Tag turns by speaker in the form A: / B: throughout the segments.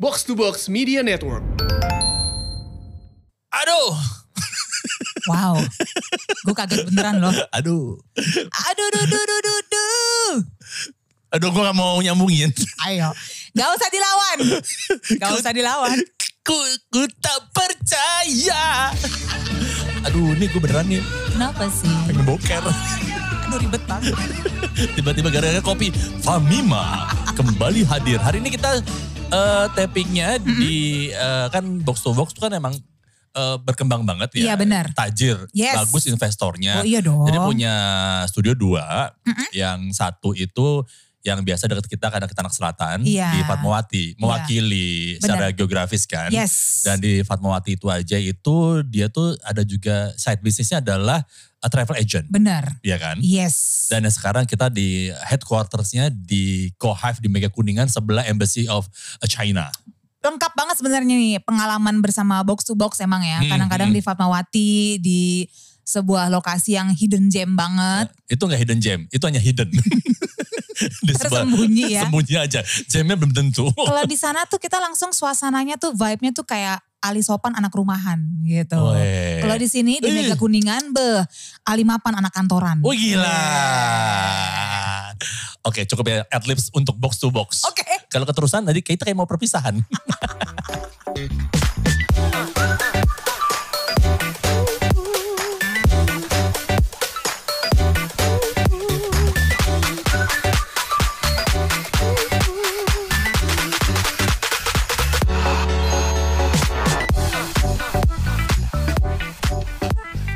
A: Box to Box Media Network.
B: Aduh,
C: Wow. Gue kaget beneran loh.
B: aduh,
C: Aduh, duh, duh, duh, duh, duh.
B: aduh, gue gak mau nyambungin.
C: Ayo. Gak usah dilawan. Gak usah dilawan.
B: Ku, ku tak percaya. Aduh, ini gue beneran nih
C: Kenapa sih?
B: pengen boker.
C: Aduh ribet banget.
B: Tiba-tiba gara-gara kopi Famima kembali hadir. Hari ini kita eh, tappingnya di eh, kan box to box tuh kan emang eh, berkembang banget ya.
C: Iya, benar.
B: Tajir,
C: Yes.
B: bagus investornya.
C: Oh iya dong.
B: Jadi punya studio dua, yang satu itu yang biasa dekat kita karena ke Tanah Selatan
C: Iya.
B: di Fatmawati, mewakili secara geografis kan.
C: Yes.
B: Dan di Fatmawati itu aja itu dia tuh ada juga side bisnisnya adalah a travel agent,
C: Bener.
B: ya kan?
C: Yes.
B: Dan yang sekarang kita di headquartersnya di Kohive di Mega Kuningan sebelah Embassy of China.
C: lengkap banget sebenarnya nih pengalaman bersama box to box emang ya.
B: Hmm,
C: Kadang-kadang
B: hmm.
C: di Fatmawati di sebuah lokasi yang hidden gem banget,
B: Itu nggak hidden gem, itu hanya hidden. di
C: tersembunyi ya.
B: Sembunyi aja, gemnya belum tentu.
C: Kalau di sana tuh kita langsung suasananya tuh vibe-nya tuh kayak Ali Sopan anak rumahan gitu.
B: Weh.
C: Kalau di sini
B: Eh.
C: di
B: Oh, iya.
C: Mega Kuningan beh Ali Mapan anak kantoran.
B: Wah gila. Oke cukup ya adlibs untuk box to box.
C: Oke. eh,
B: Kalau keterusan tadi kita kayak mau perpisahan.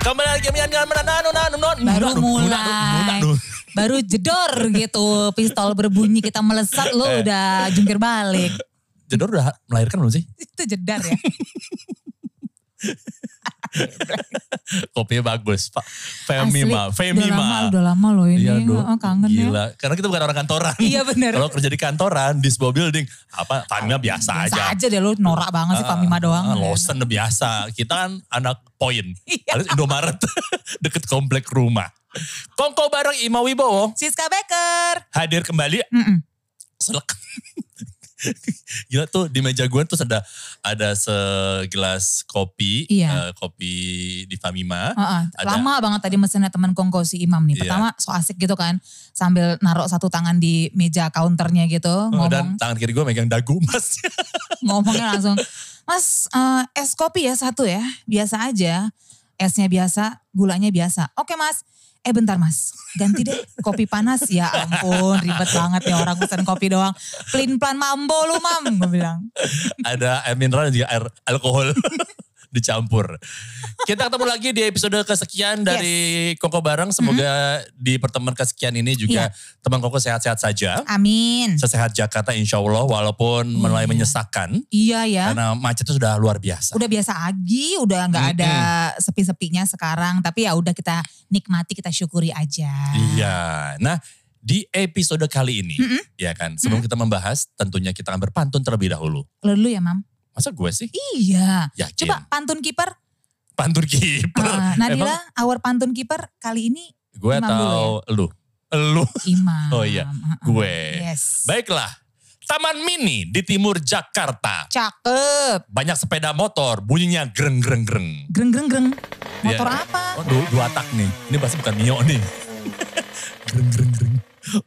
B: Kembali lagi Mian dengan Menanu Nanu Nanu Nanu,
C: Baru
B: Nanu,
C: mulai.
B: Nanu, Nanu.
C: Baru jedor gitu. Pistol berbunyi kita melesat lo
B: Eh.
C: udah jungkir balik.
B: Jedor udah melahirkan belum sih?
C: Itu jedar ya.
B: Kopinya bagus. Pak.
C: Asli,
B: Femima.
C: Udah lama,
B: Femima.
C: udah lama loh ini.
B: Iya dong.
C: Oh, kangen ya.
B: Gila. Karena kita bukan orang kantoran.
C: Iya, bener.
B: Kalau kerja di kantoran, di sebuah building, apa Famima biasa,
C: Biasa
B: aja.
C: aja deh lu norak banget sih Famima
B: Ah,
C: doang.
B: Lotion udah biasa. Kita kan anak poin.
C: Iya.
B: Alias Indomaret. Deket komplek rumah. Kongko bareng Ima Wibowo.
C: Siska Becker.
B: Hadir kembali.
C: Mm-mm.
B: Selek. Gila tuh di meja gue terus ada ada segelas kopi,
C: Iya.
B: eh, kopi di Famima.
C: Heeh.
B: Ada.
C: Lama banget tadi mesinnya teman Kongko si Imam nih.
B: Iya.
C: Pertama so asik gitu kan. Sambil narok satu tangan di meja counternya gitu.
B: Eh,
C: Ngomong,
B: Dan tangan kiri gue megang dagu mas.
C: ngomongnya langsung. Mas eh, es kopi ya satu ya. Biasa aja. Esnya biasa, gulanya biasa. Oke mas. Eh bentar mas, ganti deh kopi panas. Ya ampun, ribet banget ya orang pesan kopi doang. Plin plan mambo lu mam, gue bilang.
B: ada air mineral dan juga air alkohol dicampur. Kita ketemu lagi di episode kesekian dari Koko Bareng. Semoga
C: Mm-hmm.
B: di pertemuan kesekian ini juga
C: Iya.
B: teman Koko sehat-sehat saja.
C: Amin.
B: Sesehat Jakarta insya Allah walaupun mulai
C: Mm. Iya.
B: menyesakan.
C: Iya ya.
B: Karena macetnya sudah luar biasa.
C: udah biasa lagi, udah nggak ada sepi-sepinya sekarang. Tapi ya udah kita nikmati, kita syukuri aja.
B: Iya. Nah di episode kali ini ya kan. Sebelum kita membahas tentunya kita akan berpantun terlebih dahulu.
C: Lo dulu ya, Mam.
B: Masa gue sih?
C: Iya.
B: Yakin.
C: Coba pantun kiper.
B: Pantun kiper.
C: Heeh, Nadila,
B: Emang
C: our pantun kiper kali ini
B: gue
C: Imam dulu ya. Ah,
B: atau lu? Lu.
C: Imam.
B: Oh iya,
C: Heeh.
B: gue.
C: Yes.
B: Baiklah, Taman Mini di timur Jakarta.
C: Cakep.
B: Banyak sepeda motor, bunyinya greng greng greng.
C: Greng greng greng.
B: Iya.
C: Motor apa?
B: Oh, dua, dua tak nih. Ini pasti bukan Mio nih. greng greng greng.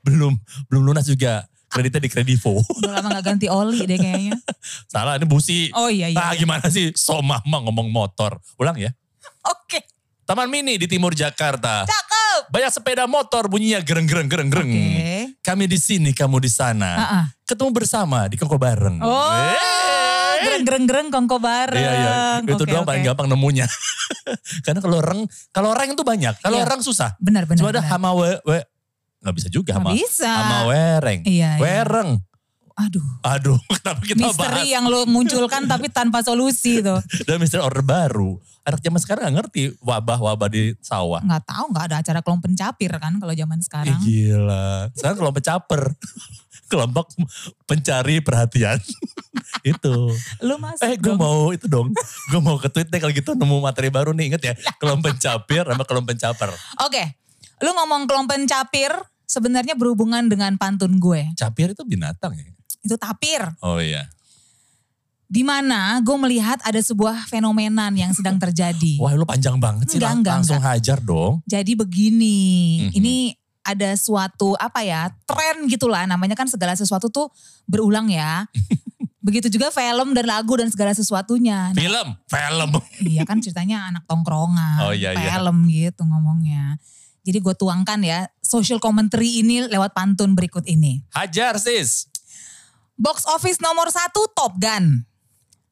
B: Belum belum lunas juga. Kreditnya di Kredivo.
C: Udah lama gak ganti oli deh kayaknya.
B: Salah, ini busi.
C: Oh iya iya.
B: Ah, gimana sih? So mama ngomong motor. Ulang ya.
C: Oke.
B: Taman Mini di timur Jakarta.
C: Cakep.
B: Banyak sepeda motor, bunyinya greng greng greng greng.
C: Oke.
B: Kami di sini, kamu di sana.
C: Heeh.
B: Ketemu bersama di Koko Bareng.
C: Oh.
B: Yeay.
C: Greng greng greng kongko bareng.
B: Iya iya, itu
C: Oke,
B: doang
C: oke.
B: paling gampang nemunya. Karena kalau reng, kalau reng itu banyak. Kalau
C: Iya.
B: reng susah.
C: Benar benar.
B: Cuma ada
C: benar.
B: hama we, we nggak bisa juga
C: Nggak
B: hama.
C: bisa.
B: Hama wereng.
C: Iya, iya.
B: Wereng.
C: Aduh.
B: Aduh, kenapa kita
C: misteri
B: bahas
C: yang lo munculkan tapi tanpa solusi tuh.
B: dan misteri order baru. Anak zaman sekarang nggak ngerti wabah-wabah di sawah.
C: Nggak tahu nggak ada acara kelompok pencapir kan kalau zaman
B: Ih,
C: sekarang.
B: gila. Sekarang kelompok caper. kelompok pencari perhatian. itu.
C: Lu masuk
B: Eh gue
C: dong.
B: mau itu dong. gue mau ke tweet deh kalau gitu nemu materi baru nih. Ingat ya. Kelompok pencapir sama kelompok pencaper.
C: Oke, lu ngomong kelompok pencapir sebenarnya berhubungan dengan pantun gue.
B: Capir itu binatang ya?
C: Itu tapir.
B: Oh iya.
C: di mana gue melihat ada sebuah fenomenan yang sedang terjadi.
B: Wah lu panjang banget sih.
C: Enggak,
B: lang-
C: enggak,
B: langsung hajar dong.
C: Jadi begini,
B: Mhm.
C: ini ada suatu apa ya tren gitulah namanya kan segala sesuatu tuh berulang ya. Begitu juga film dan lagu dan segala sesuatunya. Nah,
B: Film. Film.
C: iya kan ceritanya anak tongkrongan,
B: Oh, iya, iya.
C: film gitu ngomongnya. Jadi gue tuangkan ya social commentary ini lewat pantun berikut ini.
B: Hajar sis.
C: Box office nomor satu Top Gun.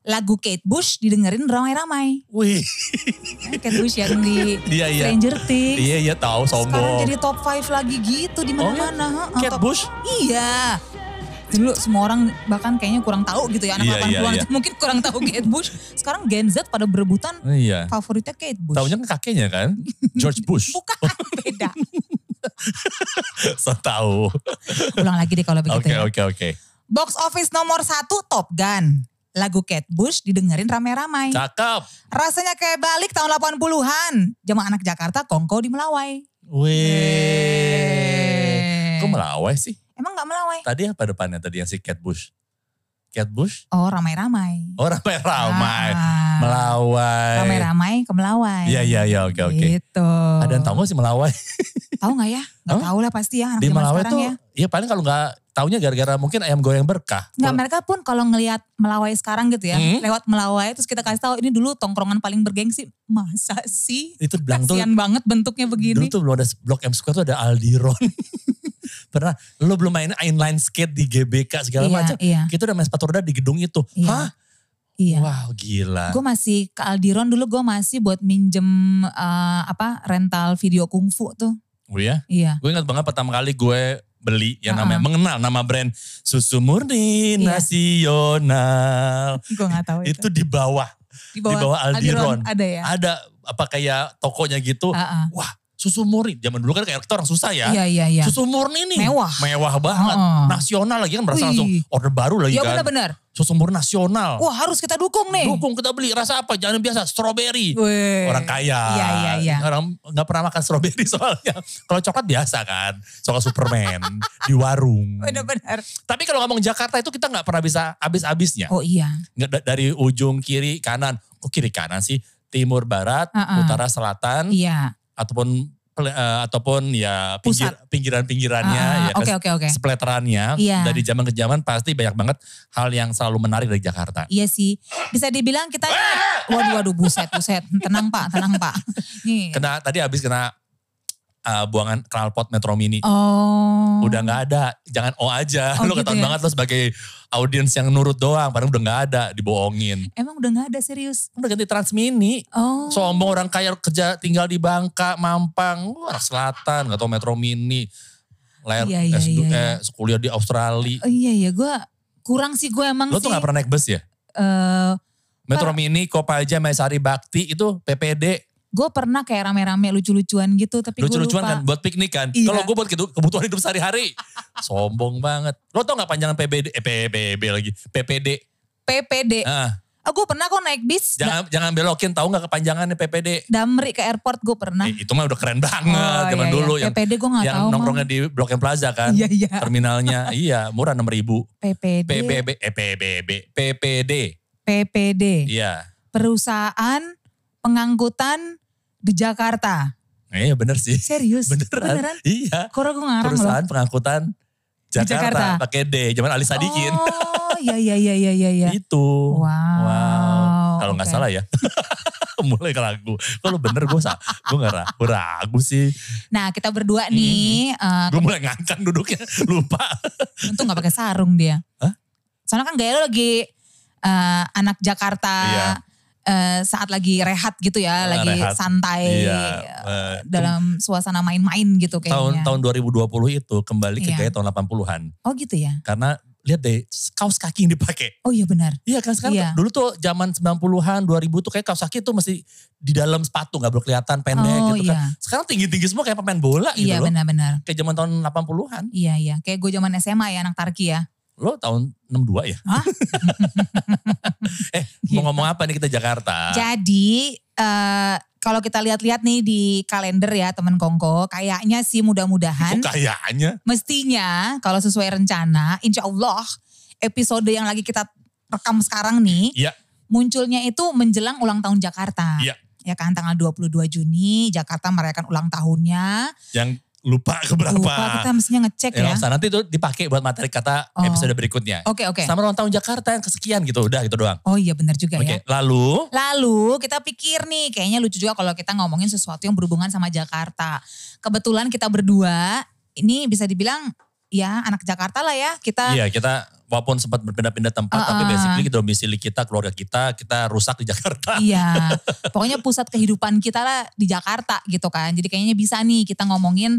C: Lagu Kate Bush didengerin ramai-ramai.
B: Wih.
C: Kate Bush yang di
B: Iya, iya.
C: Stranger Things.
B: Iya iya tahu
C: Sekarang
B: sombong. Oh, iya?
C: jadi top 5 lagi gitu di mana-mana.
B: Kate
C: Top-
B: Bush?
C: Iya. Dulu semua orang bahkan kayaknya kurang tahu gitu ya anak
B: Iya,
C: 80-an
B: iya,
C: itu mungkin kurang tahu Kate Bush. Sekarang Gen Z pada berebutan
B: Iya.
C: favoritnya Kate Bush.
B: Taunya Oh. kan kakeknya kan? George Bush.
C: Bukan, beda.
B: so tahu.
C: Ulang lagi deh kalau begitu
B: Oke
C: ya.
B: oke oke.
C: Box office nomor satu Top Gun. Lagu Kate Bush didengerin ramai-ramai.
B: Cakep.
C: Rasanya kayak balik tahun 80-an. Jemaah anak Jakarta kongko di Melawai.
B: Wih. Eh, Kok melawai sih?
C: Emang gak Melawai?
B: Tadi apa depannya tadi yang si Cat Bush? Cat Bush?
C: Oh ramai-ramai.
B: Oh ramai-ramai.
C: Ah.
B: Melawai.
C: Ramai-ramai ke Melawai.
B: Iya, iya, iya, oke, oke.
C: Gitu.
B: Ada yang tahu gak sih Melawai?
C: Tahu gak ya? Gak
B: Hah?
C: tahu lah pasti ya anak
B: Di
C: zaman
B: Melawai
C: sekarang
B: tuh,
C: ya.
B: ya. paling kalau gak taunya gara-gara mungkin ayam goreng berkah.
C: Nggak, mereka pun kalau ngelihat Melawai sekarang gitu ya,
B: Hmm.
C: lewat Melawai terus kita kasih tahu ini dulu tongkrongan paling bergengsi. Masa sih?
B: Itu bilang tuh,
C: Kasian banget bentuknya
B: dulu
C: begini.
B: tuh belum ada Blok M Square tuh ada Aldiron. Pernah, lu belum main inline skate di GBK segala
C: iya,
B: macam.
C: iya,
B: Kita udah main sepatu roda di gedung itu.
C: Iya.
B: Hah?
C: iya.
B: Wow gila.
C: Gue masih ke Aldiron dulu gue masih buat minjem eh, apa rental video kungfu tuh.
B: Gue ya,
C: Iya.
B: gue ingat banget pertama kali gue beli yang namanya
C: Ha-ha.
B: mengenal nama brand susu murni
C: Iya.
B: nasional
C: Gue gak tahu itu.
B: itu di bawah
C: Di
B: di bawah Aldiron.
C: Ada ya?
B: ada apa kayak tokonya gitu
C: Ah, ah.
B: wah susu murni zaman dulu kan kayak kita orang susah ya
C: Iya, iya, iya.
B: susu murni nih
C: Mewah.
B: mewah banget
C: Ha-ha.
B: nasional lagi kan merasa
C: Ah. Wih.
B: langsung order baru lagi
C: Ya
B: kan
C: benar-benar.
B: susu murni nasional
C: Wah harus kita dukung nih.
B: dukung kita beli rasa apa jangan yang biasa strawberry
C: Weh.
B: orang kaya.
C: Iya, iya, iya.
B: Orang nggak pernah makan strawberry soalnya. Kalau coklat biasa kan, soal Superman di warung.
C: Benar-benar.
B: Tapi kalau ngomong Jakarta itu kita nggak pernah bisa habis-habisnya.
C: Oh iya.
B: Nggak da- dari ujung kiri kanan. Kok kiri kanan sih? Timur barat,
C: Ha-ha.
B: utara selatan
C: Iya.
B: ataupun pel- eh, ataupun ya pinggir, pinggiran-pinggirannya
C: Ah,
B: ya
C: Oke
B: kan,
C: oke oke.
B: sepleterannya
C: Iya.
B: dari zaman ke zaman pasti banyak banget hal yang selalu menarik dari Jakarta.
C: Iya sih. Bisa dibilang
B: Eh,
C: kita. Waduh waduh buset buset. Tenang pak tenang pak. Nih.
B: Kena tadi habis kena eh, buangan knalpot Metro Mini.
C: Oh.
B: udah nggak ada jangan oh aja
C: Oh,
B: lo
C: gitu
B: ketahuan
C: ya?
B: banget lo sebagai audiens yang nurut doang padahal udah nggak ada dibohongin
C: Emang udah nggak ada serius.
B: udah ganti transmini
C: Oh.
B: sombong orang kaya kerja tinggal di Bangka Mampang Wah, orang selatan nggak tau Metro Mini layar
C: Iya, iya,
B: S2,
C: iya,
B: eh, kuliah di Australia
C: Oh, iya iya gue kurang sih gue emang
B: lo
C: sih. eh,
B: tuh nggak pernah naik bus ya Metro Mini Kopaja Maesari Bakti itu PPD
C: gue pernah kayak rame-rame lucu-lucuan gitu tapi gue
B: lucu-lucuan
C: lupa.
B: kan buat piknik kan
C: Iya.
B: kalau gue buat gitu kebutuhan hidup sehari-hari sombong banget lo tau nggak panjangan PBD eh, PBB lagi PPD
C: Eh, PPD.
B: ah
C: Oh, gue pernah kok naik bis.
B: Jangan jangan belokin tahu nggak kepanjangannya PPD?
C: Damri ke airport gue pernah.
B: Eh, itu mah udah keren banget
C: Nah. Oh,
B: zaman
C: iya, iya.
B: dulu yang
C: PPD gue gak
B: yang
C: tahu.
B: nongkrongnya di Blok M Plaza kan.
C: Iya, iya.
B: Terminalnya iya murah 6000 ribu.
C: PPD.
B: PBB eh PBB PPD.
C: PPD.
B: Iya.
C: Perusahaan pengangkutan di Jakarta.
B: Eh bener sih.
C: Serius?
B: Beneran. Iya.
C: Kok gue ngarang loh.
B: Perusahaan pengangkutan Jakarta,
C: Jakarta.
B: pakai D zaman Ali Sadikin.
C: Oh, iya iya iya iya iya. iya.
B: Itu.
C: Wow.
B: Gitu. Kalau nggak
C: Oh, oke.
B: salah ya. Mulai ragu. Kalau bener gue sa, gue nggak ragu, ragu sih.
C: Nah kita berdua nih, eh,
B: Gue mulai ngangkang duduknya, lupa.
C: untung gak pakai sarung dia.
B: Hah?
C: Soalnya kan gaya lo lagi eh, anak Jakarta,
B: Iya.
C: eh, saat lagi rehat gitu
B: Ah,
C: ya, lagi
B: rehat.
C: santai
B: Iya.
C: eh,
B: eh,
C: dalam suasana main-main gitu
B: tahun
C: kayaknya.
B: tahun 2020 itu kembali ke
C: Iya.
B: gaya tahun 80-an
C: Oh gitu ya?
B: karena lihat deh kaos kaki yang dipakai.
C: Oh iya benar.
B: Iya kan sekarang
C: Iya.
B: dulu tuh zaman 90-an, 2000 tuh kayak kaos kaki tuh mesti di dalam sepatu nggak boleh kelihatan pendek
C: oh
B: gitu
C: iya,
B: kan. Sekarang tinggi-tinggi semua kayak pemain bola gitu
C: iya
B: loh.
C: benar-benar.
B: Kayak zaman tahun 80-an.
C: Iya iya, kayak gue zaman SMA ya anak Tarki ya.
B: Lo tahun 62 ya?
C: Hah?
B: eh,
C: Gitu.
B: mau ngomong apa nih kita Jakarta?
C: Jadi eh kalau kita lihat-lihat nih di kalender ya temen Kongko, kayaknya sih mudah-mudahan
B: Kok kayaknya?
C: mestinya kalau sesuai rencana, insya Allah episode yang lagi kita rekam sekarang nih,
B: Iya.
C: munculnya itu menjelang ulang tahun Jakarta.
B: Iya.
C: Ya kan tanggal 22 Juni Jakarta merayakan ulang tahunnya.
B: Yang lupa keberapa.
C: Lupa kita mestinya ngecek
B: Ya,
C: ya.
B: Laksa, nanti itu dipakai buat materi kata
C: Oh.
B: episode berikutnya.
C: Oke oke.
B: Sama ulang tahun Jakarta yang kesekian gitu, udah gitu doang.
C: Oh iya benar juga
B: Oke,
C: ya.
B: lalu
C: Lalu kita pikir nih, kayaknya lucu juga kalau kita ngomongin sesuatu yang berhubungan sama Jakarta. Kebetulan kita berdua, ini bisa dibilang ya anak Jakarta lah ya. Kita
B: iya kita walaupun sempat berpindah-pindah tempat tapi
C: Uh-uh.
B: basically domisili kita, keluarga kita, kita rusak di Jakarta.
C: iya, pokoknya pusat kehidupan kita lah di Jakarta gitu kan. Jadi kayaknya bisa nih kita ngomongin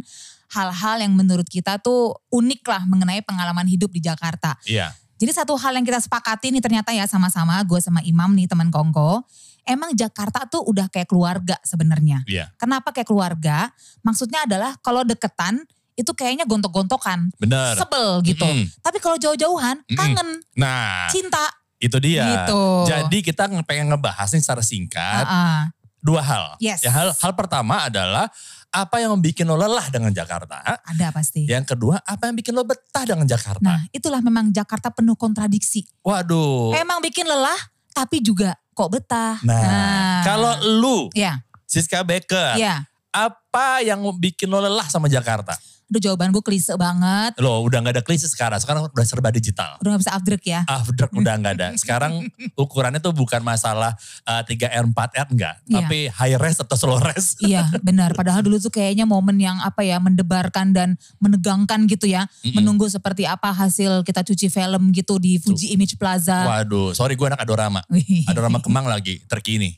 C: hal-hal yang menurut kita tuh unik lah mengenai pengalaman hidup di Jakarta.
B: Iya.
C: Jadi satu hal yang kita sepakati nih ternyata ya sama-sama gue sama Imam nih teman Kongko. Emang Jakarta tuh udah kayak keluarga sebenarnya.
B: Iya,
C: Kenapa kayak keluarga? Maksudnya adalah kalau deketan itu kayaknya gontok-gontokan,
B: benar.
C: sebel gitu.
B: Mm-mm.
C: Tapi kalau jauh-jauhan
B: Mm-mm.
C: kangen,
B: Nah,
C: cinta
B: itu dia.
C: gitu.
B: Jadi kita nge- pengen ngebahas nih secara singkat
C: Ah,
B: dua hal.
C: Yes.
B: Ya, hal hal pertama adalah apa yang bikin lo lelah dengan Jakarta?
C: ada pasti.
B: Yang kedua, apa yang bikin lo betah dengan Jakarta?
C: Iya. Nah, itulah memang Jakarta penuh kontradiksi.
B: Waduh.
C: Emang bikin lelah, tapi juga kok betah.
B: Oh. Nah,
C: Ah.
B: kalau lu
C: ya,
B: Siska Becker,
C: ya.
B: apa yang bikin lo lelah sama Jakarta?
C: Aduh jawaban gue klise banget.
B: Lo udah nggak ada klise sekarang, sekarang udah serba digital.
C: Udah gak bisa upgrade ya.
B: Afdruk udah nggak ada. Sekarang ukurannya tuh bukan masalah eh, 3R, 4R enggak.
C: Iya.
B: Tapi high res atau slow res.
C: Iya benar. Padahal dulu tuh kayaknya momen yang apa ya mendebarkan dan menegangkan gitu ya. Menunggu seperti apa hasil kita cuci film gitu di Fuji Image Plaza.
B: Waduh, sorry gue anak Adorama.
C: Wih.
B: Adorama Kemang lagi, terkini.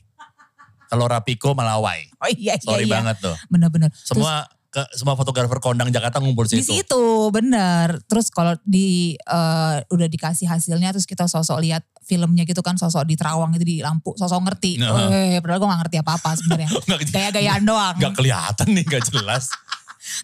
B: Kalau Rapiko Malawai.
C: Oh iya iya.
B: Sorry
C: iya.
B: banget tuh.
C: Bener-bener. Terus
B: Semua ke, semua fotografer kondang Jakarta ngumpul
C: di
B: situ.
C: situ bener. Terus kalau di eh, udah dikasih hasilnya terus kita sosok lihat filmnya gitu kan sosok di terawang itu di lampu sosok ngerti.
B: Nah.
C: Eh, padahal gue gak ngerti apa-apa sebenarnya.
B: Nggak-
C: Gaya-gayaan doang.
B: nggak kelihatan nih, nggak jelas.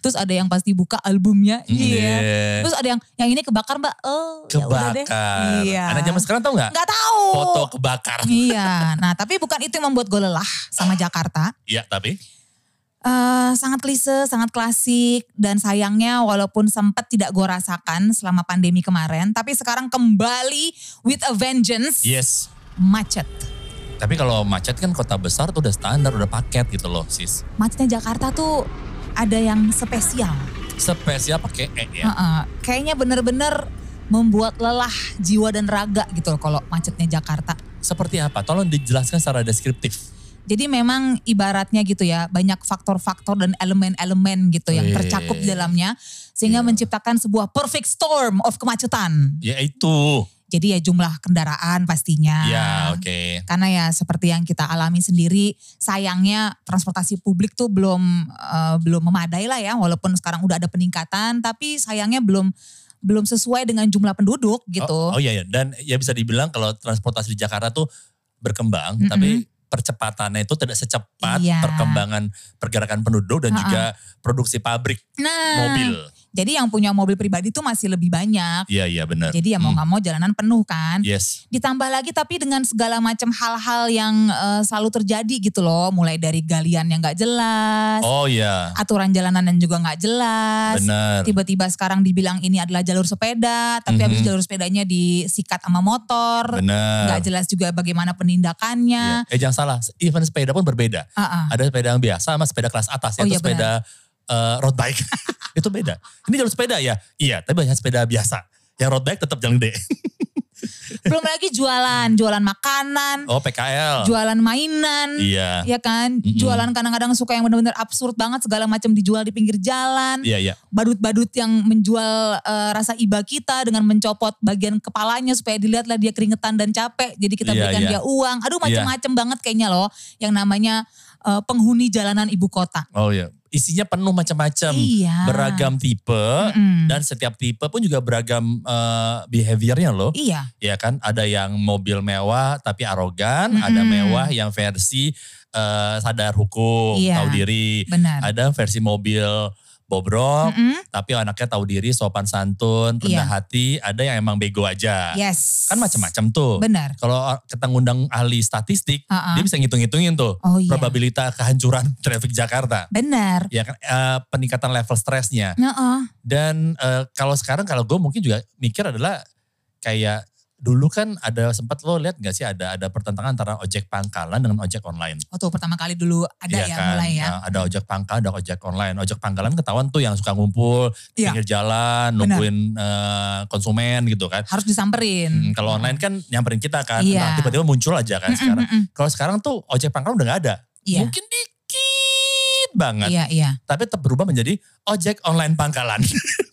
C: Terus ada yang pasti buka albumnya. Iya.
B: Iya.
C: Terus ada yang yang ini kebakar mbak. Oh, ya udah deh.
B: Kebakar.
C: Iya.
B: Anak zaman sekarang tau nggak?
C: Nggak tahu.
B: Foto kebakar.
C: Iya. Nah tapi bukan itu yang membuat gue lelah sama Jakarta.
B: Iya tapi.
C: Eh, sangat klise, sangat klasik dan sayangnya walaupun sempat tidak gue rasakan selama pandemi kemarin, tapi sekarang kembali with a vengeance
B: Yes.
C: macet.
B: Tapi kalau macet kan kota besar tuh udah standar, udah paket gitu loh sis.
C: Macetnya Jakarta tuh ada yang spesial.
B: Spesial pakai E ya.
C: Heeh. Kayaknya bener-bener membuat lelah jiwa dan raga gitu loh kalau macetnya Jakarta.
B: Seperti apa? Tolong dijelaskan secara deskriptif.
C: Jadi memang ibaratnya gitu ya, banyak faktor-faktor dan elemen-elemen gitu yang
B: Wih.
C: tercakup di dalamnya
B: Iya.
C: sehingga menciptakan sebuah perfect storm of kemacetan.
B: Ya itu.
C: Jadi ya jumlah kendaraan pastinya.
B: Ya oke.
C: Karena ya seperti yang kita alami sendiri, sayangnya transportasi publik tuh belum eh, belum memadai lah ya, walaupun sekarang udah ada peningkatan, tapi sayangnya belum belum sesuai dengan jumlah penduduk
B: Oh,
C: gitu.
B: oh iya, iya. Dan ya bisa dibilang kalau transportasi di Jakarta tuh berkembang,
C: Mm-mm.
B: tapi percepatannya itu tidak secepat
C: Iya.
B: perkembangan pergerakan penduduk dan
C: Ha-ha.
B: juga produksi pabrik
C: Nah,
B: oh, mobil.
C: jadi yang punya mobil pribadi tuh masih lebih banyak.
B: Iya iya benar.
C: Jadi ya mau
B: Hmm.
C: nggak mau jalanan penuh kan.
B: Yes.
C: ditambah lagi tapi dengan segala macam hal-hal yang eh, selalu terjadi gitu loh mulai dari galian yang nggak jelas
B: Oh iya,
C: aturan jalanan yang juga nggak jelas
B: benar.
C: tiba-tiba sekarang dibilang ini adalah jalur sepeda tapi habis
B: Mhm.
C: jalur sepedanya disikat sama motor
B: Benar.
C: nggak jelas juga bagaimana penindakannya
B: Iya. Eh jangan salah, event sepeda pun berbeda.
C: Ah, ah.
B: Ada sepeda yang biasa sama sepeda kelas atas,
C: Oh,
B: yaitu
C: iya,
B: sepeda eh, road bike. itu beda. Ini jalur sepeda ya? Iya, tapi hanya sepeda biasa. Yang road bike tetap jalan gede.
C: belum lagi jualan jualan makanan
B: Oh PKL.
C: jualan mainan
B: Iya.
C: ya kan
B: Mhm.
C: jualan kadang-kadang suka yang benar-benar absurd banget segala macam dijual di pinggir jalan
B: Iya, iya.
C: badut-badut yang menjual eh, rasa iba kita dengan mencopot bagian kepalanya supaya dilihatlah dia keringetan dan capek jadi kita
B: Iya,
C: berikan
B: iya.
C: dia uang aduh macam-macam banget kayaknya loh yang namanya eh, penghuni jalanan ibu kota
B: Oh iya. Isinya penuh macam-macam.
C: iya Hmm.
B: Beragam tipe.
C: Mm-mm.
B: Dan setiap tipe pun juga beragam eh, behaviornya loh.
C: iya
B: ya kan ada yang mobil mewah tapi arogan, ada
C: Mm-mm.
B: mewah yang versi eh, sadar hukum,
C: Iya.
B: tahu diri,
C: benar
B: ada versi mobil bobrok
C: Mm-mm.
B: tapi anaknya tahu diri, sopan santun, rendah
C: Hmm. Iya.
B: hati, ada yang emang bego aja.
C: yes
B: Kan macam-macam tuh.
C: benar
B: Kalau kita ngundang ahli statistik,
C: Ha-ha.
B: dia bisa ngitung-ngitungin tuh
C: oh iya
B: probabilitas kehancuran traffic Jakarta.
C: benar
B: Ya kan eh, peningkatan level stresnya.
C: Nuh-uh.
B: Dan eh, kalau sekarang kalau gue mungkin juga mikir adalah kayak Dulu kan ada sempat lo lihat gak sih ada ada pertentangan antara ojek pangkalan dengan ojek online.
C: Oh tuh pertama kali dulu ada
B: Iya
C: ya
B: kan?
C: mulai ya.
B: Nah, ada ojek pangkal, ada ojek online. Ojek pangkalan ketahuan tuh yang suka ngumpul di
C: Iya.
B: pinggir jalan,
C: Benar.
B: nungguin eh, konsumen gitu kan.
C: Harus disamperin.
B: Hmm, kalau online kan nyamperin kita kan,
C: Iya.
B: Nah, tiba-tiba muncul aja kan
C: Mm-mm,
B: sekarang.
C: mm-mm.
B: Kalau sekarang tuh ojek pangkalan udah gak ada.
C: Iya.
B: Mungkin kan? dikit banget.
C: Iya, iya.
B: Tapi tetap berubah menjadi ojek online pangkalan.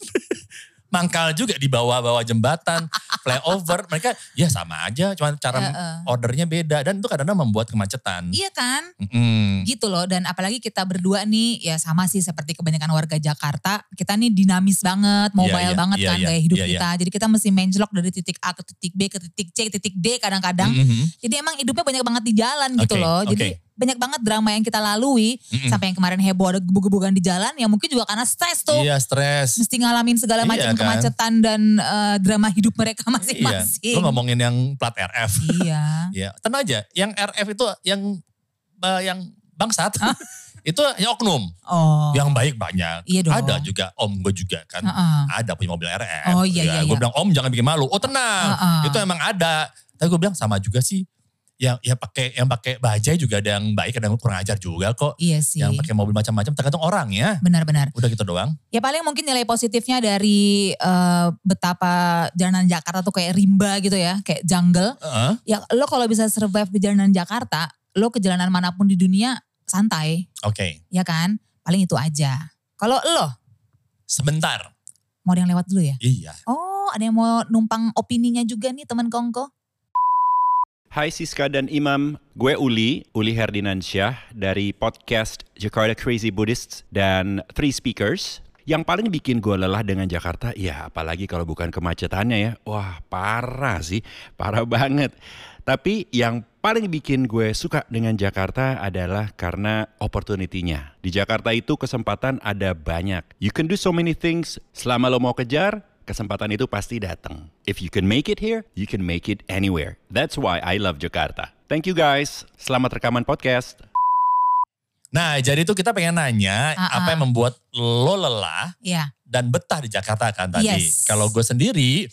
B: Mangkal juga di bawah-bawah jembatan, flyover. Mereka ya sama aja, cuman cara
C: Heeh.
B: ordernya beda. Dan itu kadang-kadang membuat kemacetan.
C: Eh. Iya kan?
B: Mm-mm.
C: Gitu loh dan apalagi kita berdua nih ya sama sih seperti kebanyakan warga Jakarta, kita nih dinamis banget,
B: iya,
C: mobile banget
B: iya,
C: kan
B: iya,
C: gaya hidup
B: iya, iya.
C: kita. Jadi kita mesti menjlok dari titik A ke titik B ke titik C, titik D kadang-kadang.
B: Mhm.
C: Jadi emang hidupnya banyak banget di jalan
B: Oke,
C: gitu
B: Hmm.
C: loh. Jadi
B: oke.
C: banyak banget drama yang kita lalui
B: Mm-mm.
C: sampai yang kemarin heboh ada gebuk-gebukan di jalan ya mungkin juga karena stres tuh.
B: Iya stres.
C: Mesti ngalamin segala
B: Iya
C: macam
B: kan.
C: kemacetan dan eh, drama hidup mereka
B: Iya.
C: masing-masing.
B: Lo ngomongin yang plat RF.
C: Iya.
B: Iya. Tenang aja, yang RF itu yang eh, yang bangsat. itu yang oknum.
C: Oh.
B: Yang baik banyak.
C: Iya dong.
B: Ada juga om gue juga kan.
C: Heeh.
B: Ada punya mobil RF.
C: Oh, iya,
B: Ya,
C: iya,
B: Gue
C: iya.
B: bilang om jangan bikin malu. Oh tenang.
C: Heeh.
B: Itu emang ada. Tapi gue bilang sama juga sih. Yang ya pakai yang pakai bajai juga ada yang baik ada yang kurang ajar juga kok.
C: Iya sih.
B: Yang pakai mobil macam-macam tergantung orang ya.
C: Benar-benar.
B: Udah gitu doang.
C: Ya paling mungkin nilai positifnya dari eh, betapa jalanan Jakarta tuh kayak rimba gitu ya, kayak jungle.
B: Heeh.
C: Ya lo kalau bisa survive di jalanan Jakarta, lo ke jalanan manapun di dunia santai,
B: Oke.
C: ya kan? Paling itu aja. Kalau lo
B: Sebentar.
C: mau ada yang lewat dulu ya?
B: Iya.
C: Oh, ada yang mau numpang opininya juga nih teman Kongko.
D: Hai Siska dan Imam, gue Uli, Uli Herdinansyah dari podcast Jakarta Crazy Buddhists dan Three Speakers. Yang paling bikin gue lelah dengan Jakarta, ya apalagi kalau bukan kemacetannya ya. Wah parah sih, parah banget. Tapi yang paling bikin gue suka dengan Jakarta adalah karena opportunity-nya. Di Jakarta itu kesempatan ada banyak. You can do so many things selama lo mau kejar, kesempatan itu pasti datang. If you can make it here, you can make it anywhere. That's why I love Jakarta. Thank you guys. Selamat rekaman podcast.
B: Nah, jadi itu kita pengen nanya
C: Ah,
B: apa
C: ah.
B: yang membuat lo lelah
C: Ya,
B: dan betah di Jakarta kan tadi.
C: Yes.
B: Kalau gue sendiri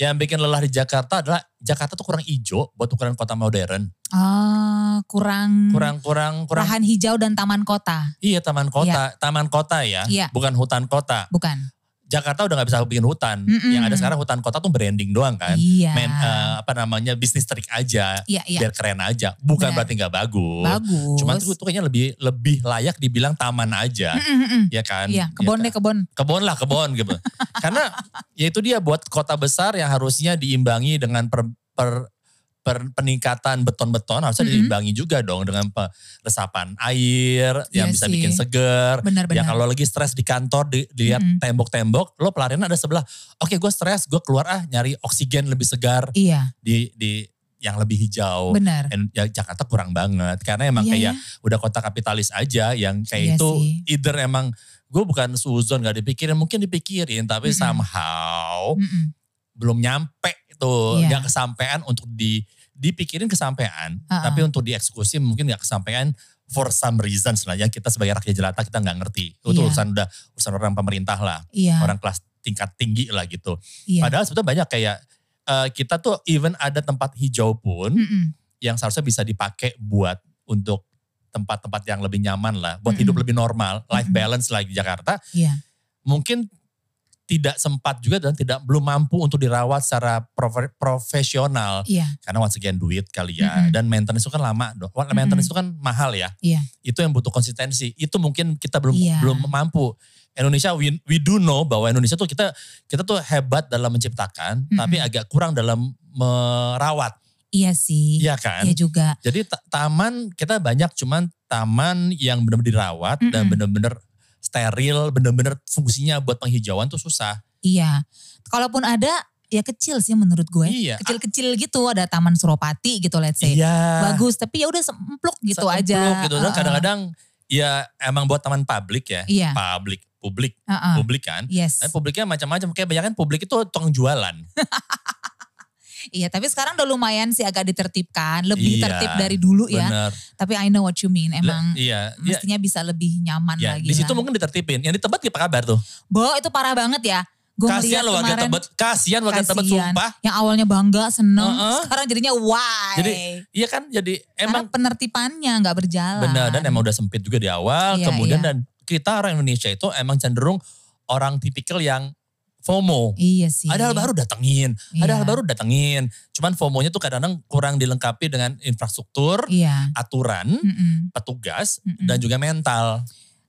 B: yang bikin lelah di Jakarta adalah Jakarta tuh kurang ijo buat ukuran kota modern.
C: Ah, kurang,
B: Kurang kurang kurang
C: lahan hijau dan taman kota,
B: iya taman kota, taman kota ya,
C: Iya.
B: bukan hutan kota.
C: bukan?
B: Jakarta udah nggak bisa bikin hutan.
C: Mm-mm.
B: Yang ada sekarang hutan kota tuh branding doang kan.
C: Iya.
B: Main eh, apa namanya bisnis trik aja.
C: Iya, iya.
B: Biar keren aja. Bukan
C: Benar.
B: berarti nggak bagus.
C: Bagus.
B: Cuman tuh, tuh kayaknya lebih lebih layak dibilang taman aja.
C: Mm, mm, mm.
B: Ya kan?
C: Iya, kebon
B: Ya
C: deh kebon.
B: kebon lah kebon gitu. Karena ya itu dia buat kota besar yang harusnya diimbangi dengan per, per- per- peningkatan beton-beton harusnya
C: Mhm.
B: diimbangi juga dong dengan pe- resapan air yang
C: Iya
B: bisa
C: sih.
B: bikin seger.
C: Benar-benar.
B: Ya kalau lagi stres di kantor di, lihat
C: Mhm.
B: tembok-tembok, lo pelarian ada sebelah. Oke, gue stres, gue keluar ah nyari oksigen lebih segar
C: Iya,
B: di di yang lebih hijau.
C: benar.
B: Dan ya Jakarta kurang banget karena emang
C: Iya
B: kayak
C: ya.
B: udah kota kapitalis aja yang
C: Iya
B: kayak itu
C: sih.
B: either emang gue bukan suzon gak dipikirin mungkin dipikirin tapi
C: Mm-mm.
B: somehow
C: Mm, mm.
B: belum nyampe tuh
C: Iya.
B: nggak kesampaian untuk di dipikirin kesampaian
C: Uh-uh.
B: tapi untuk dieksekusi mungkin nggak kesampaian for some reasons lah yang kita sebagai rakyat jelata kita nggak ngerti itu
C: Iya.
B: urusan udah urusan orang pemerintah lah
C: Iya,
B: orang kelas tingkat tinggi lah gitu
C: iya.
B: padahal sebetulnya banyak kayak eh, kita tuh even ada tempat hijau pun
C: Mm, mm.
B: yang seharusnya bisa dipakai buat untuk tempat-tempat yang lebih nyaman lah, buat
C: Mm-mm.
B: hidup lebih normal, life
C: Mm-mm.
B: balance lagi di Jakarta,
C: Iya,
B: mungkin tidak sempat juga dan tidak belum mampu untuk dirawat secara profe- profesional
C: iya,
B: karena once again duit kali ya
C: Mm-mm.
B: dan maintenance itu kan lama dong. Wa-
C: Mm-mm.
B: Maintenance itu kan mahal ya.
C: Iya.
B: Itu yang butuh konsistensi. Itu mungkin kita belum
C: Iya.
B: belum mampu. Indonesia we, we do know bahwa Indonesia tuh kita kita tuh hebat dalam menciptakan
C: Mm-mm.
B: tapi agak kurang dalam merawat,
C: iya sih.
B: ya kan?
C: Iya juga.
B: Jadi ta- taman kita banyak cuman taman yang benar-benar dirawat dan
C: Mm-mm.
B: benar-benar steril, benar-benar fungsinya buat penghijauan tuh susah.
C: Iya. Kalaupun ada ya kecil sih menurut gue.
B: Iya.
C: Kecil-kecil gitu ada Taman Suropati gitu let's say.
B: Iya.
C: Bagus tapi ya udah sempluk
B: Satu
C: gitu aja.
B: blok Gitu. Dan
C: Heeh.
B: kadang-kadang ya emang buat taman publik ya.
C: Iya.
B: Publik, publik,
C: Heeh.
B: publik kan.
C: Yes.
B: Tapi publiknya macam-macam. Kayak banyak kan publik itu tukang jualan.
C: Iya, tapi sekarang udah lumayan sih agak ditertibkan, lebih
B: Iya.
C: tertib dari dulu ya.
B: Bener.
C: Tapi I know what you mean,
B: Le-
C: emang
B: iya. Iya.
C: mestinya bisa lebih nyaman
B: Ya, di
C: lagi.
B: situ
C: lah.
B: mungkin ditertipin. Yang di Tebet apa kabar tuh?
C: Bo, itu parah banget ya. Gue
B: Kasihan
C: ngeliat
B: loh warga
C: kemarin,
B: Tebet. Kasihan warga Tebet
C: kasihan.
B: sumpah.
C: Yang awalnya bangga, seneng.
B: Heeh.
C: Sekarang jadinya why.
B: Jadi iya kan jadi
C: Karena
B: emang
C: penertibannya nggak berjalan.
B: benar dan emang udah sempit juga di awal.
C: Ah. Iya,
B: kemudian
C: iya.
B: dan kita orang Indonesia itu emang cenderung orang tipikal yang FOMO.
C: Iya sih.
B: Ada hal baru datengin, ada
C: Iya.
B: hal baru datengin. Cuman FOMO-nya tuh kadang-kadang kurang dilengkapi dengan infrastruktur,
C: Iya.
B: aturan,
C: Mm-mm.
B: petugas,
C: Mm-mm.
B: dan juga mental.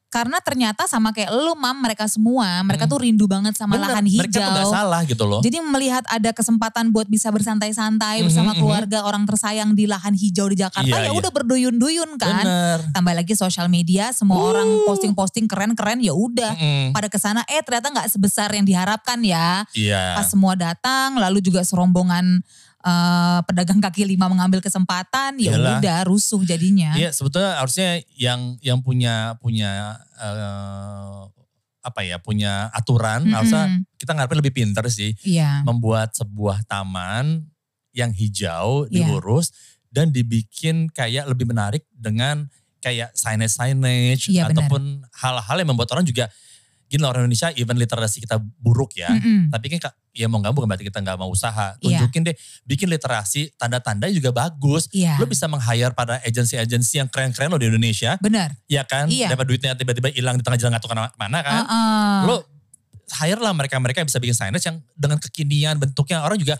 C: Karena ternyata sama kayak lu mam mereka semua, mereka
B: Mm.
C: tuh rindu banget sama
B: Bener,
C: lahan
B: Mereka tuh gak
C: hijau.
B: salah gitu loh.
C: Jadi melihat ada kesempatan buat bisa bersantai-santai
B: Mhm,
C: bersama
B: mhm.
C: keluarga orang tersayang di lahan hijau di Jakarta
B: Iya, iya.
C: ya udah berduyun-duyun kan.
B: Bener.
C: Tambah lagi sosial media, semua orang posting-posting keren-keren ya udah.
B: Mm-mm.
C: Pada kesana eh ternyata nggak sebesar yang diharapkan ya.
B: Iya.
C: Pas semua datang, lalu juga serombongan eh, pedagang kaki lima mengambil kesempatan, ya
B: Iyalah.
C: udah rusuh jadinya.
B: Iya sebetulnya harusnya yang yang punya punya eh, apa ya punya aturan
C: Mm-mm.
B: harusnya kita ngarepin lebih pinter sih
C: Iya.
B: membuat sebuah taman yang hijau
C: Iya.
B: diurus dan dibikin kayak lebih menarik dengan kayak signage signage
C: Iya, benar.
B: ataupun hal-hal yang membuat orang juga gini loh, orang Indonesia even literasi kita buruk ya
C: Mm-mm.
B: tapi kan ka- ya mau nggak mau bukan berarti kita nggak mau usaha
C: Hmm. Iya.
B: tunjukin deh bikin literasi tanda-tanda juga bagus
C: Iya.
B: lo bisa meng-hire pada agensi-agensi yang keren-keren lo di Indonesia,
C: Benar.
B: ya kan?
C: Iya.
B: Dapat duitnya tiba-tiba hilang di tengah jalan gak tahu kemana- mana kan?
C: Uh-uh.
B: Lo hire lah mereka-mereka yang bisa bikin signage yang dengan kekinian bentuknya orang juga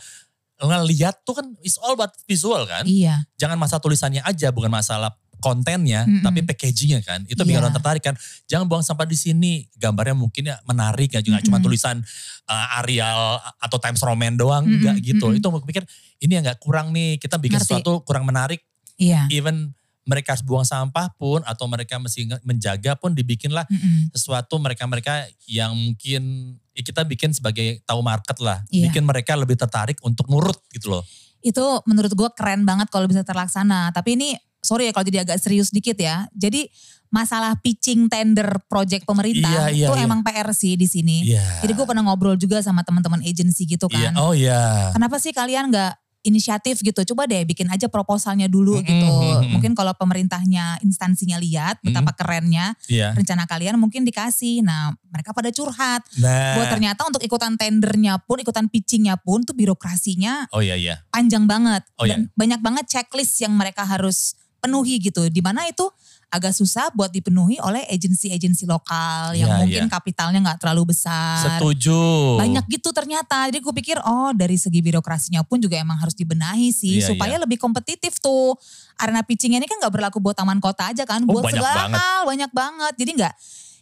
B: ngeliat tuh kan it's all about visual kan?
C: Iya.
B: Jangan masalah tulisannya aja, bukan masalah kontennya,
C: Mm-mm.
B: tapi packagingnya kan. Itu biar
C: Iya.
B: orang tertarik kan. Jangan buang sampah di sini. Gambarnya mungkin ya menarik ya, juga cuma
C: Mm-mm.
B: tulisan uh, Arial atau Times Roman doang,
C: Mm-mm,
B: enggak gitu.
C: mm-mm.
B: Itu aku pikir ini yang nggak kurang nih. Kita bikin
C: Ngerti.
B: sesuatu kurang menarik
C: Iya.
B: even mereka harus buang sampah pun atau mereka mesti nge- menjaga pun dibikinlah
C: Mm-mm.
B: sesuatu mereka-mereka yang mungkin ya kita bikin sebagai tahu market lah,
C: Iya.
B: bikin mereka lebih tertarik untuk nurut gitu loh.
C: itu menurut gue keren banget kalau bisa terlaksana. Tapi ini sorry ya kalau jadi agak serius dikit ya. Jadi masalah pitching tender project pemerintah
B: Iya, iya,
C: itu
B: iya.
C: emang PR sih di sini.
B: Iya.
C: Jadi gue pernah ngobrol juga sama teman-teman agensi gitu
B: Iya,
C: kan.
B: oh iya.
C: Kenapa sih kalian nggak inisiatif gitu? Coba deh bikin aja proposalnya dulu
B: Mm-mm,
C: gitu.
B: mm-mm.
C: Mungkin kalau pemerintahnya instansinya lihat betapa kerennya
B: Iya.
C: rencana kalian mungkin dikasih. Nah mereka pada curhat.
B: Nah.
C: Gue ternyata untuk ikutan tendernya pun, ikutan pitchingnya pun tuh birokrasinya
B: Oh iya iya.
C: panjang banget
B: Oh,
C: dan banyak banget checklist yang mereka harus penuhi gitu. Di mana itu agak susah buat dipenuhi oleh agensi-agensi lokal yang
B: Iya,
C: mungkin
B: iya.
C: kapitalnya nggak terlalu besar.
B: Setuju.
C: Banyak gitu ternyata. Jadi gue pikir oh dari segi birokrasinya pun juga emang harus dibenahi sih
B: Iya,
C: supaya lebih kompetitif tuh. Arena pitching ini kan nggak berlaku buat taman kota aja kan,
B: Oh,
C: buat
B: banyak
C: segala
B: banget.
C: hal banyak banget. Jadi nggak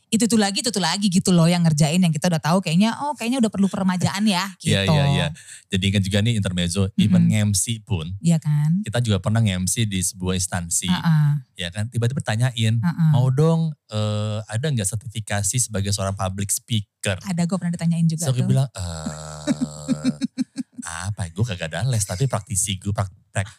C: itu tuh lagi itu tuh lagi gitu loh yang ngerjain yang kita udah tahu kayaknya oh kayaknya udah perlu peremajaan ya gitu.
B: Iya iya iya. Jadi kan juga nih intermezzo, even MC pun
C: Iya kan?
B: kita juga pernah MC di sebuah instansi,
C: Heeh,
B: ya kan? Tiba-tiba tanyain,
C: heeh.
B: mau dong eh, ada nggak sertifikasi sebagai seorang public speaker?
C: ada gue pernah ditanyain
B: So
C: juga
B: gue
C: tuh.
B: bilang, eh apa gue kagak ada les tapi praktisi gue prak, prak-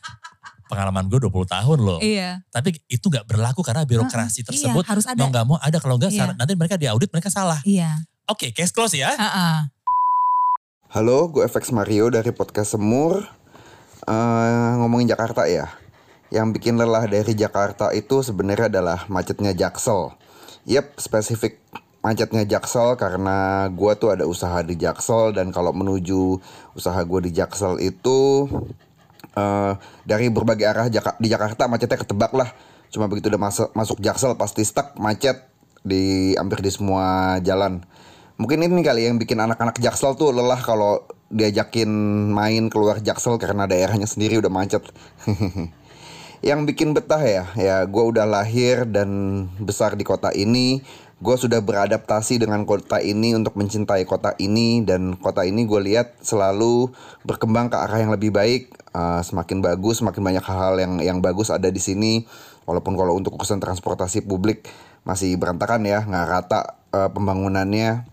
B: pengalaman gue 20 tahun loh.
C: Iya.
B: Tapi itu nggak berlaku karena birokrasi
C: Heeh,
B: tersebut
C: Iya, harus ada.
B: mau nggak mau ada kalau nggak
C: Iya.
B: syarat- nanti mereka diaudit mereka salah.
C: Iya.
B: Oke case close ya.
C: Heeh.
E: Halo, gue FX Mario dari podcast Semur. Eh, ngomongin Jakarta ya. Yang bikin lelah dari Jakarta itu sebenarnya adalah macetnya Jaksel. Yep, spesifik macetnya Jaksel karena gue tuh ada usaha di Jaksel dan kalau menuju usaha gue di Jaksel itu eh, dari berbagai arah Jaka- di Jakarta macetnya ketebak lah. Cuma begitu udah masuk masuk Jaksel pasti stuck macet di hampir di semua jalan. Mungkin ini kali yang bikin anak-anak Jaksel tuh lelah kalau diajakin main keluar Jaksel karena daerahnya sendiri udah macet. yang bikin betah ya, ya gue udah lahir dan besar di kota ini. Gue sudah beradaptasi dengan kota ini untuk mencintai kota ini dan kota ini gue lihat selalu berkembang ke arah yang lebih baik, eh, semakin bagus, semakin banyak hal-hal yang yang bagus ada di sini. Walaupun kalau untuk urusan transportasi publik masih berantakan ya, nggak rata eh, pembangunannya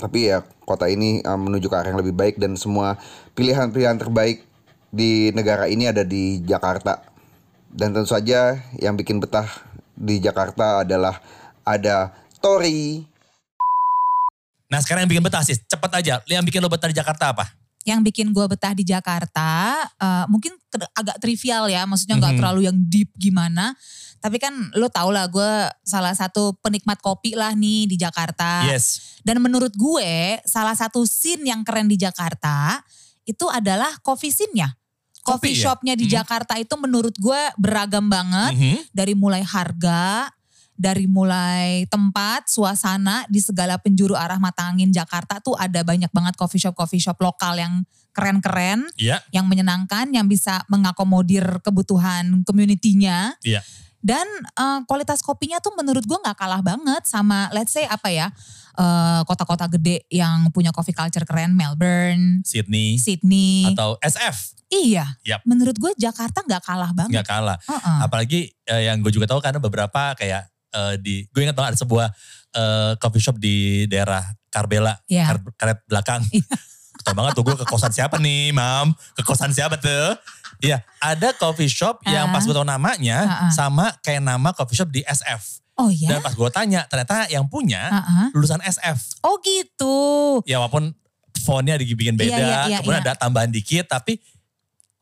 E: tapi ya kota ini eh, menuju ke arah yang lebih baik dan semua pilihan-pilihan terbaik di negara ini ada di Jakarta dan tentu saja yang bikin betah di Jakarta adalah ada Tori
B: Nah sekarang yang bikin betah sih cepet aja. Yang bikin lo betah di Jakarta apa?
C: Yang bikin gue betah di Jakarta eh, mungkin ke- agak trivial ya, maksudnya nggak
B: Mhm.
C: terlalu yang deep gimana. Tapi kan lo tau lah gue salah satu penikmat kopi lah nih di Jakarta.
B: Yes.
C: Dan menurut gue salah satu scene yang keren di Jakarta itu adalah coffee scene-nya.
B: Kopi
C: Coffee
B: ya?
C: shop-nya di
B: Mhm.
C: Jakarta itu menurut gue beragam banget.
B: Mhm.
C: Dari mulai harga, dari mulai tempat, suasana di segala penjuru arah mata angin Jakarta tuh ada banyak banget coffee shop-coffee shop lokal yang keren-keren
B: Iya.
C: yang menyenangkan, yang bisa mengakomodir kebutuhan community-nya.
B: Iya.
C: Dan eh, kualitas kopinya tuh menurut gue nggak kalah banget sama let's say apa ya eh, kota-kota gede yang punya coffee culture keren, Melbourne,
B: Sydney
C: Sydney.
B: atau SF
C: iya.
B: Yap.
C: Menurut gue Jakarta nggak kalah banget.
B: nggak kalah.
C: Heeh.
B: Apalagi eh, yang gue juga tahu karena beberapa kayak eh, di gue ingat banget ada sebuah eh, coffee shop di daerah Karbela,
C: Iya.
B: kar- karet belakang. Tau
C: Iya.
B: banget tuh gue ke kosan siapa nih, Mam? Ke kosan siapa tuh? Iya, ada coffee shop yang
C: Ah.
B: pas gue tau namanya
C: Ah, ah.
B: sama kayak nama coffee shop di SF.
C: Oh ya.
B: Dan pas gue tanya, ternyata yang punya
C: Heeh.
B: lulusan SF.
C: Oh gitu.
B: Ya walaupun fontnya dibikin beda,
C: Iya, iya, iya,
B: kemudian ada
C: iya.
B: tambahan dikit, tapi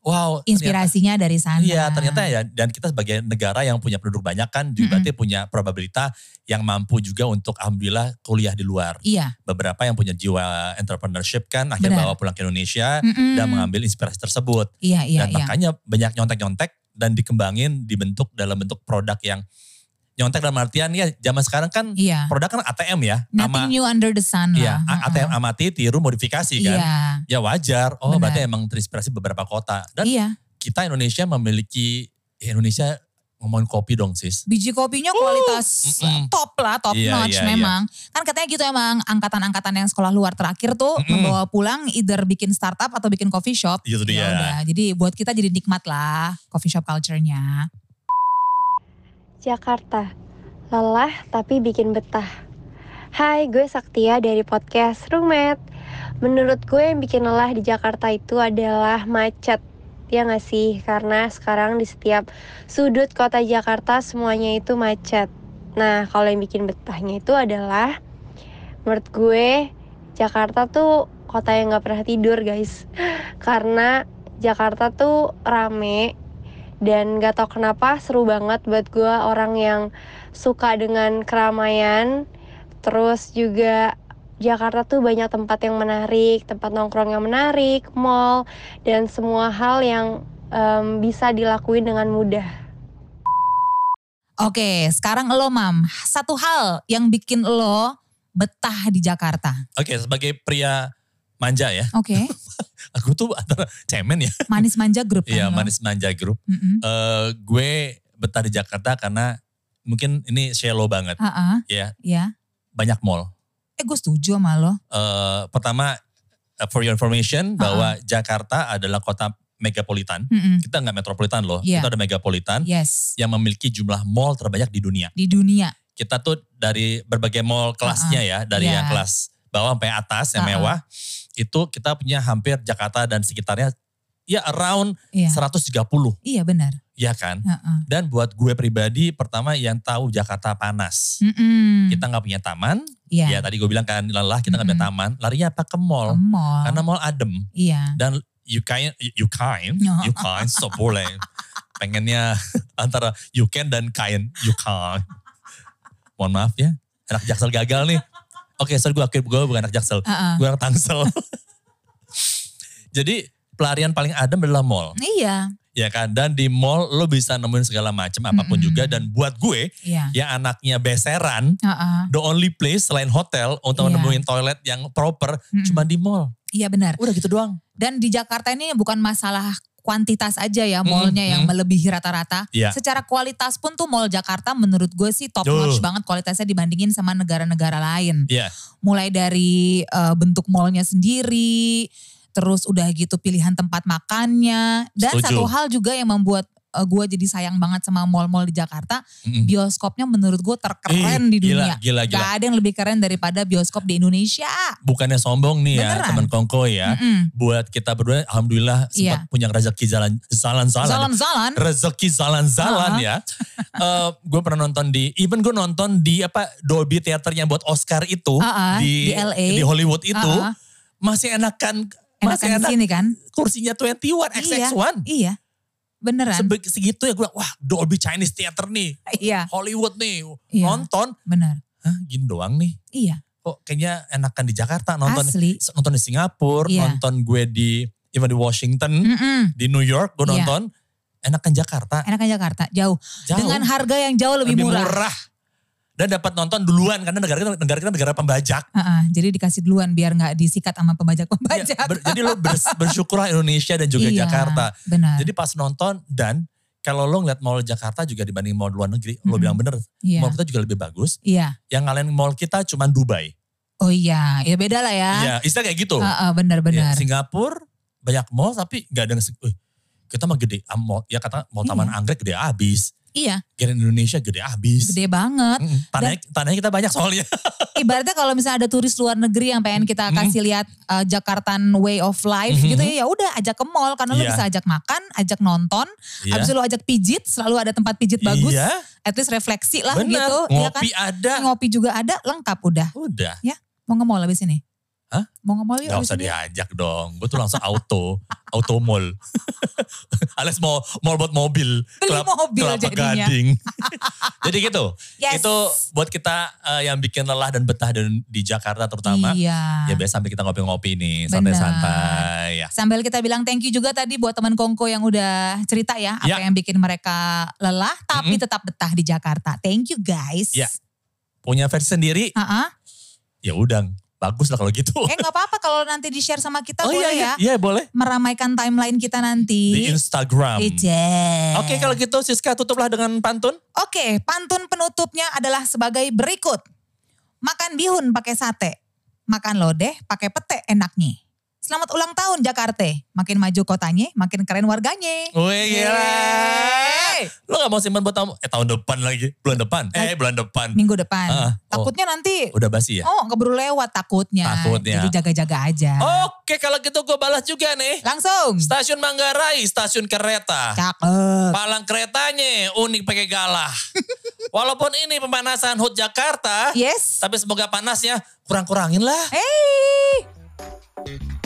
B: wow. ternyata-
C: Inspirasinya dari sana.
B: Iya ternyata ya dan kita sebagai negara yang punya penduduk banyak kan juga berarti punya probabilitas yang mampu juga untuk alhamdulillah kuliah di luar.
C: Iya.
B: Beberapa yang punya jiwa entrepreneurship kan akhirnya
C: Benar.
B: bawa pulang ke Indonesia
C: Mm-mm.
B: dan mengambil inspirasi tersebut.
C: Iya iya
B: dan
C: iya.
B: makanya banyak nyontek-nyontek dan dikembangin dibentuk dalam bentuk produk yang nyontek dalam artian ya zaman sekarang kan
C: Iya.
B: produk kan ATM ya.
C: Nothing new under the sun
B: Iya, A-
C: lah.
B: ATM amati tiru modifikasi
C: Heeh.
B: kan. Ya
C: Iya.
B: wajar. Oh
C: Benar.
B: berarti emang terinspirasi beberapa kota. Dan
C: Iya.
B: kita Indonesia memiliki ya Indonesia ngomongin kopi dong sis.
C: biji kopinya kualitas
B: Mm-mm.
C: top lah, top
B: Iya, iya,
C: notch
B: iya.
C: memang. Kan katanya gitu emang angkatan-angkatan yang sekolah luar terakhir tuh
B: Mm-mm. Iya,
C: membawa pulang either bikin startup atau bikin coffee shop.
B: Itu
C: Ya
B: dia.
C: udah, jadi buat kita jadi nikmat lah coffee shop culture-nya.
F: Jakarta. Lelah tapi bikin betah. Hai, gue Saktia dari podcast Roommate. Menurut gue yang bikin lelah di Jakarta itu adalah macet. Ya nggak sih? Karena sekarang di setiap sudut kota Jakarta semuanya itu macet. Nah, kalau yang bikin betahnya itu adalah menurut gue Jakarta tuh kota yang nggak pernah tidur guys. Karena Jakarta tuh rame, dan gak tau kenapa seru banget buat gue orang yang suka dengan keramaian terus juga Jakarta tuh banyak tempat yang menarik tempat nongkrong yang menarik mall dan semua hal yang em, bisa dilakuin dengan mudah
C: Oke, sekarang lo Mam, satu hal yang bikin lo betah di Jakarta.
B: Oke sebagai pria manja ya.
C: Oke,
B: Aku tuh antara cemen ya.
C: manis manja grup kan
B: Iya
C: lo?
B: manis manja grup.
C: Mm-mm.
B: Eh gue betah di Jakarta karena mungkin ini shallow banget
C: Ah, ah,
B: ya.
C: ya.
B: Banyak mall.
C: Eh gue setuju sama lo.
B: Eh pertama eh, for your information bahwa Jakarta adalah kota megapolitan.
C: Mm-mm.
B: Kita nggak metropolitan loh.
C: Iya.
B: Kita ada megapolitan
C: Yes,
B: yang memiliki jumlah mall terbanyak di dunia.
C: di dunia.
B: kita tuh dari berbagai mall kelasnya ya, dari
C: Iya.
B: yang kelas bawah sampai atas yang
C: Uh-uh.
B: mewah, itu kita punya hampir Jakarta dan sekitarnya ya around
C: Iya,
B: 130,
C: iya benar.
B: ya kan?
C: Ah, ah.
B: Dan buat gue pribadi pertama yang tahu Jakarta panas.
C: Mm-mm.
B: Kita nggak punya taman,
C: Iya.
B: Hmm. ya tadi gue bilang kan lelah kita nggak punya
C: Mm-mm.
B: taman, larinya apa ke mall.
C: Ke mall.
B: Karena mall adem
C: Iya.
B: dan you can you can
C: No.
B: you can so boleh pengennya antara you can dan kain you can mohon maaf ya anak jaksel gagal nih oke sorry gue akui gue bukan anak jaksel
C: Heeh.
B: gue anak tangsel jadi pelarian paling adem adalah mall
C: Iya,
B: ya kan dan di mall lo bisa nemuin segala macam apapun
C: Mm-mm.
B: juga dan buat gue
C: iya.
B: ya anaknya beseran
C: Heeh.
B: the only place selain hotel untuk
C: Iya.
B: nemuin toilet yang proper
C: Mm-mm.
B: cuma di mall
C: Iya benar.
B: udah gitu doang
C: Dan di Jakarta ini bukan masalah kuantitas aja ya
B: Mm-mm,
C: mallnya
B: mm.
C: yang melebihi rata-rata.
B: Iya.
C: Secara kualitas pun tuh mall Jakarta menurut gue sih top
B: Duh.
C: notch banget kualitasnya dibandingin sama negara-negara lain.
B: Iya.
C: Mulai dari eh, bentuk mallnya sendiri, terus udah gitu pilihan tempat makannya. Dan
B: Setuju.
C: satu hal juga yang membuat eh, gue jadi sayang banget sama mall-mall di Jakarta,
B: Mm-mm.
C: bioskopnya menurut gue terkeren
B: Ih,
C: di dunia.
B: Gila, gila, gila.
C: Gak ada yang lebih keren daripada bioskop di Indonesia.
B: Bukannya sombong nih ya
C: Beneran.
B: teman Kongko ya.
C: Mm-mm. Iya.
B: Buat kita berdua alhamdulillah sempat punya rezeki jalan jalan jalan.
C: Zalan-zalan.
B: Rezeki jalan jalan
C: Uh-huh.
B: ya. Eh gue pernah nonton di even gue nonton di apa Dolby Theater yang buat Oscar itu
C: Ah, ah,
B: di
C: di LA.
B: Hollywood itu
C: Ah, ah.
B: masih enakan Mas,
C: Enakan di
B: enak.
C: sini kan?
B: Kursinya 21, XX1.
C: Iya. Beneran.
B: Sebe- segitu ya gue bilang, wah Dolby Chinese Theater nih.
C: iya.
B: Hollywood nih.
C: Iya.
B: Nonton.
C: Benar.
B: Hah gini doang nih.
C: Iya.
B: Kok kayaknya enakan di Jakarta nonton.
C: Asli.
B: Nonton di Singapura,
C: Iya.
B: nonton gue di, even di Washington,
C: Mm-mm.
B: di New York gue
C: Iya.
B: nonton. Enakan Jakarta.
C: Enakan Jakarta. Jauh.
B: Jauh.
C: Dengan harga yang jauh lebih, murah.
B: Dan dapat nonton duluan karena negara kita negara kita negara pembajak.
C: Heeh, jadi dikasih duluan biar nggak disikat
B: Ya,
C: sama pembajak-pembajak.
B: ber- jadi lo bers- bersyukurlah Indonesia dan juga
C: Iya,
B: Jakarta.
C: Benar.
B: Jadi pas nonton dan kalau lo ngeliat mall Jakarta juga dibanding mall luar negeri, lo
C: Mm-mm.
B: bilang bener,
C: Iya.
B: mall kita juga lebih bagus.
C: Iya.
B: Yang ngalahin mall kita cuma Dubai.
C: Oh iya, ya beda lah ya.
B: Iya, istilah kayak gitu.
C: Heeh,
B: Ya,
C: benar-benar.
B: Singapura banyak mall tapi nggak ada yang se- eh, kita mah gede ah, mall ya kata mall Taman
C: Iya.
B: Anggrek gede abis,
C: Iya,
B: Kirain Indonesia gede abis.
C: gede banget.
B: Mm-mm. Tanahnya, tanahnya kita banyak soalnya.
C: Ibaratnya kalau misalnya ada turis luar negeri yang pengen
B: Mhm.
C: kita kasih lihat uh, Jakartan way of life
B: Mhm.
C: gitu ya, ya udah ajak ke mall karena lu
B: Iya.
C: bisa ajak makan, ajak nonton,
B: Iya.
C: habis itu lu ajak pijit, selalu ada tempat pijit bagus,
B: Iya,
C: at least refleksi lah
B: benar.
C: gitu, iya
B: Ngopi ada.
C: kan? Ngopi juga ada, lengkap udah.
B: Udah,
C: Mau nge mall abis ini?
B: Hah?
C: Mau nge mall yuk
B: gak
C: abis
B: usah
C: ini?
B: diajak dong. Gue tuh langsung auto, auto mall. Alias mau mall buat mobil.
C: Beli mobil
B: Kelapa
C: jadinya.
B: Gading. Jadi gitu.
C: Yes.
B: Itu buat kita eh, yang bikin lelah dan betah dan di Jakarta terutama.
C: Iya.
B: Ya biasa sampai kita ngopi-ngopi nih,
C: Benar.
B: santai-santai. Ya.
C: Sambil kita bilang thank you juga tadi buat teman Kongko yang udah cerita ya apa
B: Ya.
C: yang bikin mereka lelah tapi tetap betah di Jakarta. Thank you guys.
B: Ya. Punya versi sendiri,
C: Ha-ha.
B: ya udah bagus lah kalau gitu.
C: Eh nggak apa-apa kalau nanti di share sama kita boleh
B: iya, iya,
C: ya.
B: boleh.
C: Meramaikan timeline kita nanti.
B: Di Instagram.
C: Ije.
B: Oke kalau gitu Siska tutuplah dengan pantun.
C: Oke, pantun penutupnya adalah sebagai berikut. Makan bihun pakai sate, makan lodeh pakai pete enaknya. Selamat ulang tahun Jakarta. Makin maju kotanya, makin keren warganya.
B: Wih
C: iya.
B: gila.
C: Yeay.
B: Lo gak mau simpan buat tahun, eh, tahun depan lagi. Bulan depan. Eh bulan depan.
C: Minggu depan.
B: Ah, oh.
C: Takutnya nanti
B: Udah basi ya?
C: Oh, keburu lewat takutnya.
B: Takutnya.
C: Jadi jaga-jaga aja.
B: Oke kalau gitu gue balas juga nih.
C: Langsung.
B: Stasiun Manggarai, stasiun kereta.
C: Cakep.
B: Palang keretanya unik pakai galah. Walaupun ini pemanasan HUT Jakarta,
C: Yes.
B: tapi semoga panasnya kurang-kurangin lah.
C: Hey.